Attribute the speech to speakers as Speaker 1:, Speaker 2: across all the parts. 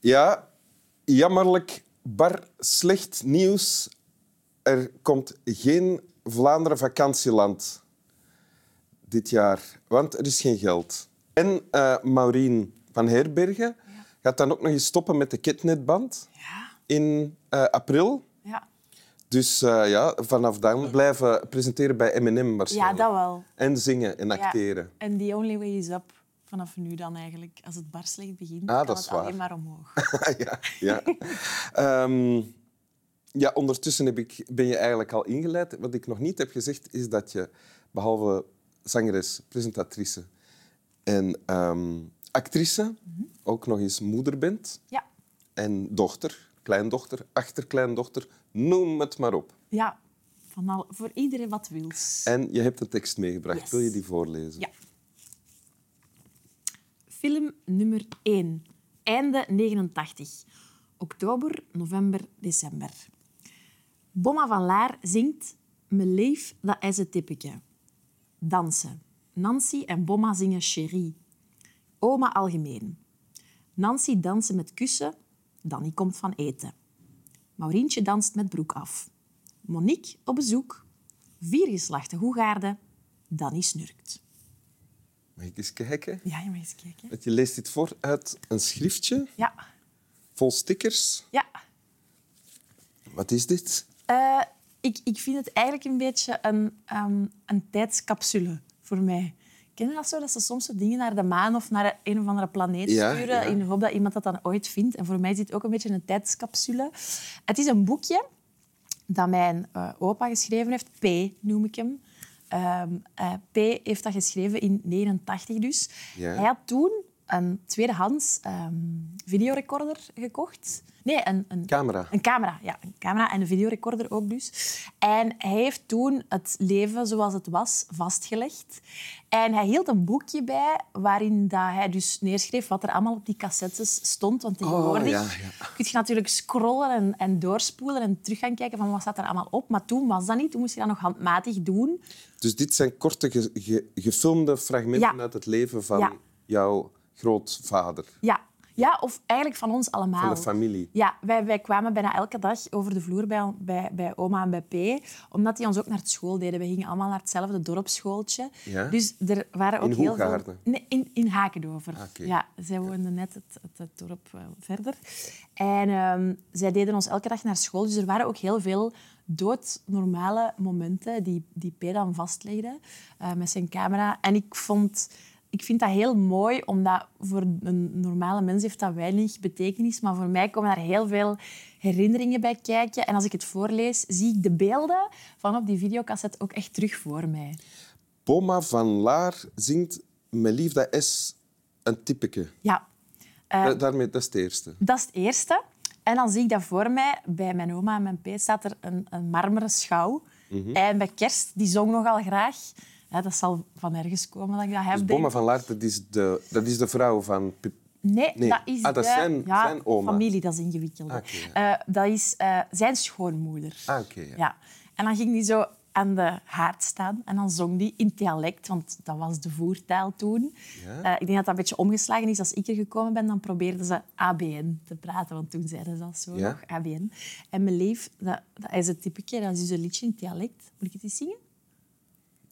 Speaker 1: Ja, jammerlijk, bar slecht nieuws. Er komt geen Vlaanderen vakantieland dit jaar, want er is geen geld. En eh, Maureen van Herbergen gaat dan ook nog eens stoppen met de ketnetband
Speaker 2: Ja,
Speaker 1: in eh, april.
Speaker 2: ja.
Speaker 1: Dus eh, ja, vanaf dan blijven presenteren bij M&M
Speaker 2: ja
Speaker 1: waarschijnlijk.
Speaker 2: dat wel.
Speaker 1: En zingen en
Speaker 2: Ja.
Speaker 1: acteren.
Speaker 2: En the only way is up. Vanaf nu dan eigenlijk. Als het bar slecht begint,
Speaker 1: Ah,
Speaker 2: kan
Speaker 1: dat is
Speaker 2: het
Speaker 1: waar.
Speaker 2: alleen maar omhoog.
Speaker 1: ja, ja. Ehm, ja, ondertussen heb ik, ben je eigenlijk al ingeleid. Wat ik nog niet heb gezegd, is dat je behalve zangeres, presentatrice en ehm, actrice
Speaker 2: Mhm.
Speaker 1: ook nog eens moeder bent
Speaker 2: Ja,
Speaker 1: en dochter, kleindochter, achterkleindochter, noem het maar op.
Speaker 2: ja. Van al, voor iedereen wat wils.
Speaker 1: En je hebt een tekst meegebracht.
Speaker 2: Yes.
Speaker 1: Wil je die voorlezen?
Speaker 2: Ja. Film nummer 1. Einde 89. Oktober, november, december. Bomma van Laar zingt Me leef, dat is het tippeke. Dansen. Nancy en Bomma zingen Chérie. Oma algemeen. Nancy dansen met kussen. Danny komt van eten. Maurientje danst met broek af. Monique op bezoek. Vier geslachten Hoegaarden. Danny snurkt.
Speaker 1: Mag ik eens kijken?
Speaker 2: Ja, je mag eens kijken.
Speaker 1: Want Je leest dit voor uit een schriftje
Speaker 2: Ja,
Speaker 1: vol stickers.
Speaker 2: ja.
Speaker 1: Wat is dit?
Speaker 2: Eh, ik, ik vind het eigenlijk een beetje een, ehm, een tijdscapsule voor mij. Ken je dat zo? Dat ze soms zo dingen naar de maan of naar een of andere planeet
Speaker 1: Ja,
Speaker 2: sturen
Speaker 1: ja.
Speaker 2: in de hoop dat iemand dat dan ooit vindt. En voor mij is dit ook een beetje een tijdscapsule. Het is een boekje dat mijn eh, opa geschreven heeft. P noem ik hem. Ehm, eh, P heeft dat geschreven in 89 dus.
Speaker 1: Ja.
Speaker 2: Hij had toen een tweedehands ehm, videorecorder gekocht. Nee, een, een,
Speaker 1: Camera.
Speaker 2: een camera, ja. Een camera en een videorecorder ook dus. En hij heeft toen het leven zoals het was vastgelegd. En hij hield een boekje bij waarin dat hij dus neerschreef wat er allemaal op die cassettes stond. Want tegenwoordig
Speaker 1: Oh, ja, ja.
Speaker 2: kun je natuurlijk scrollen en, en doorspoelen en terug gaan kijken van wat staat er allemaal op. Maar toen was dat niet. Toen moest je dat nog handmatig doen.
Speaker 1: Dus dit zijn korte ge- ge- gefilmde fragmenten
Speaker 2: Ja.
Speaker 1: uit het leven van
Speaker 2: Ja.
Speaker 1: jouw grootvader,
Speaker 2: Ja. ja, of eigenlijk van ons allemaal.
Speaker 1: van de familie.
Speaker 2: Ja, wij, wij kwamen bijna elke dag over de vloer bij, bij, bij oma en bij P. Omdat die ons ook naar het school deden. We gingen allemaal naar hetzelfde dorpsschooltje.
Speaker 1: Ja?
Speaker 2: Dus er waren ook
Speaker 1: In
Speaker 2: heel veel...
Speaker 1: Hoegaarden?
Speaker 2: Nee, in, in Hakendover.
Speaker 1: Oké.
Speaker 2: Ja, zij woonden net het, het, het dorp eh, verder. En ehm, zij deden ons elke dag naar school. Dus er waren ook heel veel doodnormale momenten die, die P dan vastlegde eh, met zijn camera. En ik vond... Ik vind dat heel mooi, omdat voor een normale mens heeft dat weinig betekenis. Maar voor mij komen daar heel veel herinneringen bij kijken. En als ik het voorlees, zie ik de beelden van op die videocassette ook echt terug voor mij.
Speaker 1: Boma van Laar zingt Mijn lief, dat is een typeke.
Speaker 2: Ja, Eh.
Speaker 1: Da- Daarmee, dat is het eerste. Dus
Speaker 2: Dat is het eerste. En dan zie ik dat voor mij. Bij mijn oma en mijn P staat er een, een marmeren schouw. En bij Kerst, die zong nogal graag. Ja, dat zal van ergens komen dat ik dat heb.
Speaker 1: Dus
Speaker 2: denk
Speaker 1: Boma
Speaker 2: ik.
Speaker 1: van Laar, dat is de, dat is de vrouw van... Pip-
Speaker 2: Nee,
Speaker 1: Nee.
Speaker 2: dat is
Speaker 1: Ah, dat
Speaker 2: de
Speaker 1: zijn-
Speaker 2: ja,
Speaker 1: zijn oma.
Speaker 2: familie, dat is ingewikkeld.
Speaker 1: Ah, oké,
Speaker 2: dat is eh, zijn schoonmoeder.
Speaker 1: Ah, oké. ja.
Speaker 2: Ja. En dan ging die zo aan de haard staan en dan zong die in dialect, want dat was de voertaal toen.
Speaker 1: Ja.
Speaker 2: Eh, ik denk dat dat een beetje omgeslagen is. Als ik er gekomen ben, dan probeerden ze ABN te praten, want toen zeiden ze dat zo
Speaker 1: Ja.
Speaker 2: nog, ABN. En mijn lief, dat, dat is het typeke, dat is dus een liedje in dialect. Moet ik het eens zingen?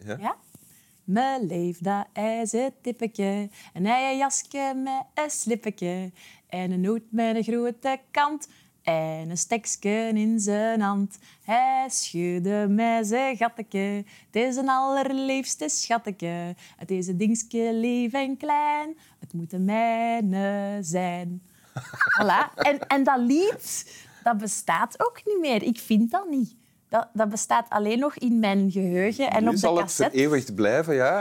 Speaker 1: Ja.
Speaker 2: Ja? Mijn leef, dat is het tippeke. Een eigen jasje met een slippeke. En een hoed met een grote kant. En een stekske in zijn hand. Hij schudde met zijn gatteke. Het is een allerliefste schatteke. Het is een dingske lief en klein. Het moet een mijne zijn. Voilà. En, en dat lied, dat bestaat ook niet meer. Ik vind dat niet. Dat, dat bestaat alleen nog in mijn geheugen en
Speaker 1: Nu
Speaker 2: op de
Speaker 1: zal het
Speaker 2: cassette.
Speaker 1: vereeuwigd blijven, ja.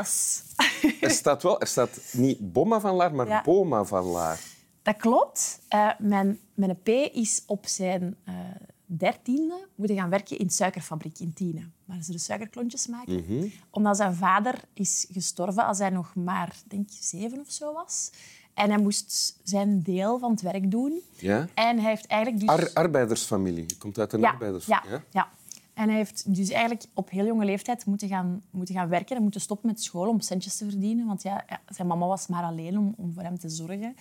Speaker 1: Er staat wel... Er staat niet Boma van Laar, maar
Speaker 2: Ja.
Speaker 1: Boma van Laar.
Speaker 2: Dat klopt. Eh, mijn, mijn P is op zijn eh, dertiende moeten gaan werken in de suikerfabriek in Tiene. Waar ze de suikerklontjes maken.
Speaker 1: Mhm.
Speaker 2: Omdat zijn vader is gestorven als hij nog maar, denk ik, zeven of zo was. En hij moest zijn deel van het werk doen.
Speaker 1: Ja.
Speaker 2: En hij heeft eigenlijk dus...
Speaker 1: Ar- arbeidersfamilie. Je komt uit een
Speaker 2: ja,
Speaker 1: arbeidersfamilie.
Speaker 2: ja, ja. En hij heeft dus eigenlijk op heel jonge leeftijd moeten gaan, moeten gaan werken en moeten stoppen met school om centjes te verdienen. Want ja, ja, zijn mama was maar alleen om, om voor hem te zorgen.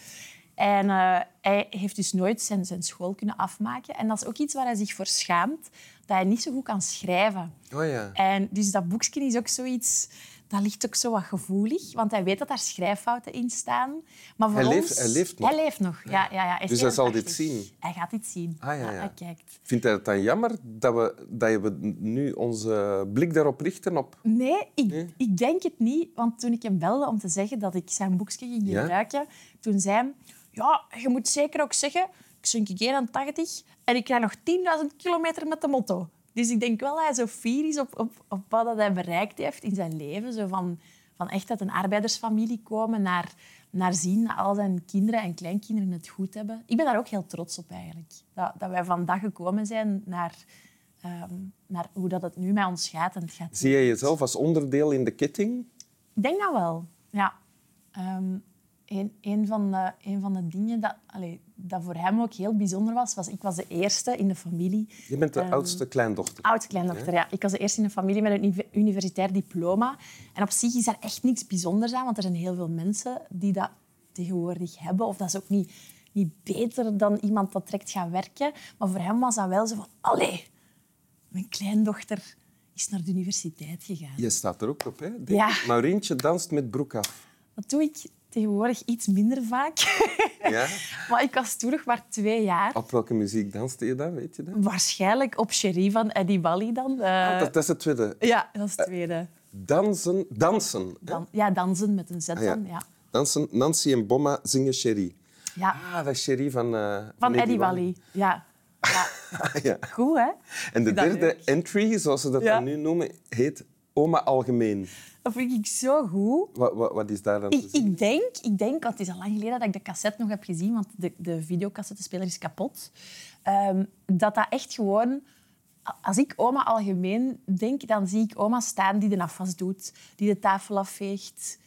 Speaker 2: En eh, hij heeft dus nooit zijn, zijn school kunnen afmaken. En dat is ook iets waar hij zich voor schaamt, dat hij niet zo goed kan schrijven.
Speaker 1: Oh ja.
Speaker 2: En dus dat boekje is ook zoiets... Dat ligt ook zo wat gevoelig, want hij weet dat daar schrijffouten in staan. Maar voor
Speaker 1: Hij leeft-
Speaker 2: ons...
Speaker 1: hij leeft nog.
Speaker 2: Hij leeft nog, ja. ja, ja. is
Speaker 1: Dus hij zal dit
Speaker 2: 81.
Speaker 1: zien?
Speaker 2: Hij gaat dit zien.
Speaker 1: Ah, ja, ja.
Speaker 2: Hij kijkt.
Speaker 1: Vindt hij het dan jammer dat we, dat we nu onze blik daarop richten? Op...
Speaker 2: Nee ik,
Speaker 1: Nee?
Speaker 2: ik denk het niet. Want toen ik hem belde om te zeggen dat ik zijn boekje ging
Speaker 1: Ja?
Speaker 2: gebruiken, toen zei hij... Ja, je moet zeker ook zeggen, ik zink 81 en ik krijg nog 10.000 kilometer met de motto. Dus ik denk wel dat hij zo fier is op, op, op wat dat hij bereikt heeft in zijn leven. Zo van, van echt uit een arbeidersfamilie komen naar, naar zien dat al zijn kinderen en kleinkinderen het goed hebben. Ik ben daar ook heel trots op eigenlijk. Dat, dat wij vandaag gekomen zijn naar, ehm, naar hoe dat het nu met ons gaat. En het gaat
Speaker 1: Zie jij jezelf als onderdeel in de ketting?
Speaker 2: ik denk dat wel, ja. Ehm een, een, van de, een van de dingen dat, allee, dat voor hem ook heel bijzonder was, was ik was de eerste in de familie.
Speaker 1: Je bent de
Speaker 2: Ehm,
Speaker 1: oudste kleindochter.
Speaker 2: Oud kleindochter, ja. Ik was de eerste in de familie met een univ- universitair diploma. En op zich is daar echt niks bijzonders aan, want er zijn heel veel mensen die dat tegenwoordig hebben. Of dat is ook niet, niet beter dan iemand dat direct gaat werken. Maar voor hem was dat wel zo van, allee, mijn kleindochter is naar de universiteit gegaan.
Speaker 1: Je staat er ook op, hè? De-
Speaker 2: Ja.
Speaker 1: Maurientje danst met broek af.
Speaker 2: Dat doe ik tegenwoordig iets minder vaak.
Speaker 1: Ja?
Speaker 2: Maar ik was toen nog maar twee jaar.
Speaker 1: Op welke muziek danste je dan, weet je dat?
Speaker 2: Waarschijnlijk op Cherie van Eddie Bally dan. Eh,
Speaker 1: Ah, dat, dat is het tweede.
Speaker 2: Ja, dat is het tweede.
Speaker 1: Dansen, dansen. hè?
Speaker 2: Dan, ja, dansen met een Z
Speaker 1: Ah, ja.
Speaker 2: dan. Ja.
Speaker 1: Dansen, Nancy en Bomma zingen Sherry.
Speaker 2: Ja.
Speaker 1: Ah, dat is Sherry van... eh,
Speaker 2: Van Eddie Bally. Ja. ja.
Speaker 1: Ah, ja.
Speaker 2: Goed, hè?
Speaker 1: En de
Speaker 2: Dat
Speaker 1: derde
Speaker 2: leuk.
Speaker 1: entry, zoals ze dat
Speaker 2: Ja.
Speaker 1: dan nu noemen, heet Oma Algemeen.
Speaker 2: Dat vind ik zo goed.
Speaker 1: Wat, wat, wat is daar dan te
Speaker 2: Ik,
Speaker 1: zien?
Speaker 2: ik, denk, ik denk, want het is al lang geleden dat ik de cassette nog heb gezien, want de, de videocassettespeler is kapot. ehm, dat dat echt gewoon... a- Als ik oma algemeen denk, dan zie ik oma staan die de afwas doet, die de tafel afveegt,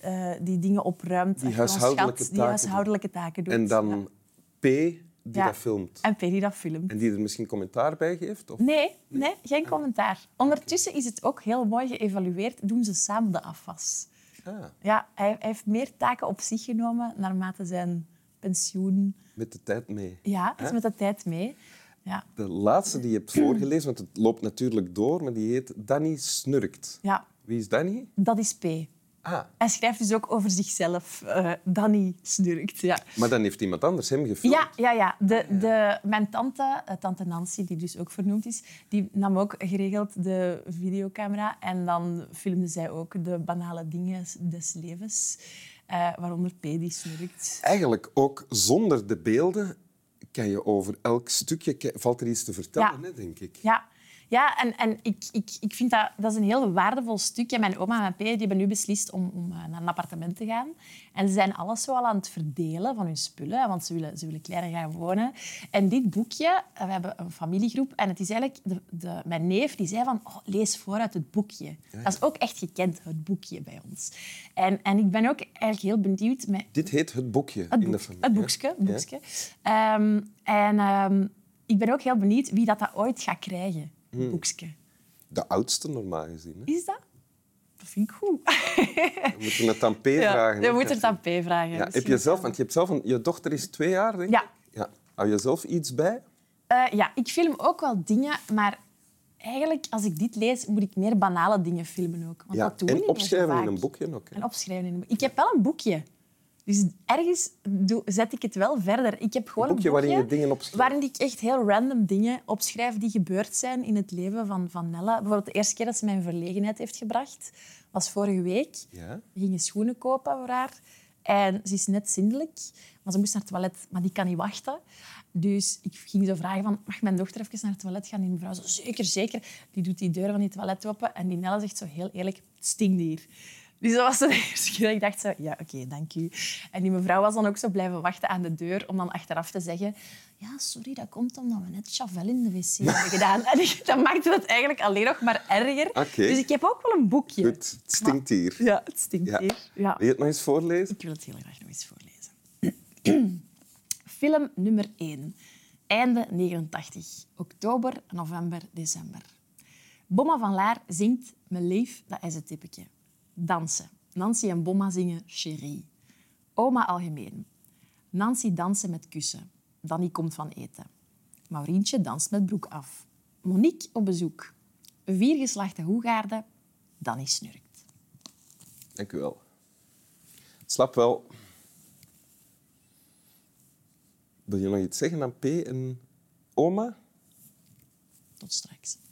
Speaker 2: eh, die dingen opruimt. achter ons
Speaker 1: huishoudelijke taken
Speaker 2: gat, Die huishoudelijke taken doet.
Speaker 1: En
Speaker 2: Ja.
Speaker 1: dan P, die
Speaker 2: Ja.
Speaker 1: dat filmt.
Speaker 2: En Mm. P die dat filmt.
Speaker 1: En die er misschien commentaar bij geeft? Of...
Speaker 2: Nee, nee,
Speaker 1: Ah.
Speaker 2: geen commentaar. Ondertussen is het ook heel mooi geëvalueerd. Doen ze samen de afwas.
Speaker 1: Ah,
Speaker 2: Ja, hij, hij heeft meer taken op zich genomen naarmate zijn pensioen.
Speaker 1: met de tijd mee.
Speaker 2: Ja, is met de tijd mee. Ja,
Speaker 1: De laatste die je hebt
Speaker 2: Mm.
Speaker 1: voorgelezen, want het loopt natuurlijk door, maar die heet Danny Snurkt.
Speaker 2: ja
Speaker 1: Wie is Danny?
Speaker 2: dat is P.
Speaker 1: Ah,
Speaker 2: Hij schrijft dus ook over zichzelf. eh Danny snurkt. Ja,
Speaker 1: maar dan heeft iemand anders hem gefilmd.
Speaker 2: ja, ja. ja. De, de, mijn tante, eh, tante Nancy, die dus ook vernoemd is, die nam ook geregeld de videocamera. En dan filmde zij ook de banale dingen des levens, eh, waaronder P die snurkt.
Speaker 1: Eigenlijk ook zonder de beelden kan je over elk stukje ke- valt er iets te vertellen,
Speaker 2: Ja.
Speaker 1: hè, denk ik.
Speaker 2: Ja, ja en, en ik, ik, ik vind dat, dat is een heel waardevol stukje. Mijn oma en mijn pa die hebben nu beslist om, om eh, naar een appartement te gaan. En ze zijn alles zo al aan het verdelen van hun spullen, want ze willen, ze willen kleiner gaan wonen. En dit boekje, eh, we hebben een familiegroep, en het is eigenlijk... De, de, mijn neef die zei van, oh, lees vooruit het boekje. Dat is ook echt gekend, het boekje bij ons. En, en ik ben ook eigenlijk heel benieuwd met
Speaker 1: Dit heet het boekje
Speaker 2: het,
Speaker 1: in de
Speaker 2: boek-
Speaker 1: familie.
Speaker 2: het
Speaker 1: hè?
Speaker 2: boekje. het boekje. Ehm, en ehm, ik ben ook heel benieuwd wie dat, dat ooit gaat krijgen, het
Speaker 1: Hmm.
Speaker 2: boekje.
Speaker 1: De oudste normaal gezien. Hè?
Speaker 2: Is dat? Dat vind ik goed.
Speaker 1: We moeten het aan P
Speaker 2: Ja,
Speaker 1: vragen.
Speaker 2: je
Speaker 1: hè,
Speaker 2: moet het
Speaker 1: Cathy.
Speaker 2: aan P vragen.
Speaker 1: Ja, heb je zelf, want je hebt zelf een, je dochter is twee jaar, denk
Speaker 2: Ja.
Speaker 1: ik. Ja. Hou je zelf iets bij?
Speaker 2: Eh, ja, ik film ook wel dingen, maar eigenlijk als ik dit lees, moet ik meer banale dingen filmen ook. Want dat doen we
Speaker 1: En
Speaker 2: niet meer zo
Speaker 1: opschrijven in
Speaker 2: vaak.
Speaker 1: een boekje ook. hè?
Speaker 2: En opschrijven in een boek. Ik heb wel een boekje. Dus ergens doe- zet ik het wel verder. Ik heb gewoon
Speaker 1: Een boekje
Speaker 2: een boekje
Speaker 1: waarin je dingen opschrijft.
Speaker 2: Waarin ik echt heel random dingen opschrijf die gebeurd zijn in het leven van, van Nella. Bijvoorbeeld de eerste keer dat ze mij in verlegenheid heeft gebracht, was vorige week.
Speaker 1: Ja.
Speaker 2: We gingen schoenen kopen voor haar. En ze is net zindelijk, maar ze moest naar het toilet, maar die kan niet wachten. Dus ik ging zo vragen van, mag mijn dochter even naar het toilet gaan? En die mevrouw zo, zeker, zeker. Die doet die deur van die toilet open en die Nella zegt zo heel eerlijk, het stinkt hier. Dus dat was de eerste keer dat ik dacht zo, ja, oké, dank u. En die mevrouw was dan ook zo blijven wachten aan de deur om dan achteraf te zeggen, ja, sorry, dat komt omdat we net Chavel in de wc hebben gedaan. En ik- dat maakte het eigenlijk alleen nog maar erger.
Speaker 1: Oké.
Speaker 2: Dus ik heb ook wel een boekje.
Speaker 1: Goed, het stinkt hier.
Speaker 2: Ja, het stinkt
Speaker 1: Ja.
Speaker 2: hier. Ja.
Speaker 1: Wil je het nog eens voorlezen?
Speaker 2: Ik wil het heel graag nog eens voorlezen. Film nummer 1. Einde 89. Oktober, november, december. Bomma van Laar zingt Mijn lief, dat is het tippetje. Dansen. Nancy en Bomma zingen Chérie. Oma algemeen. Nancy dansen met kussen. Danny komt van eten. Maurientje danst met broek af. Monique op bezoek. Vier geslachte hoegaarden. Danny snurkt.
Speaker 1: Dank u wel. Slap wel. Wil je nog iets zeggen aan P en oma?
Speaker 2: Tot straks.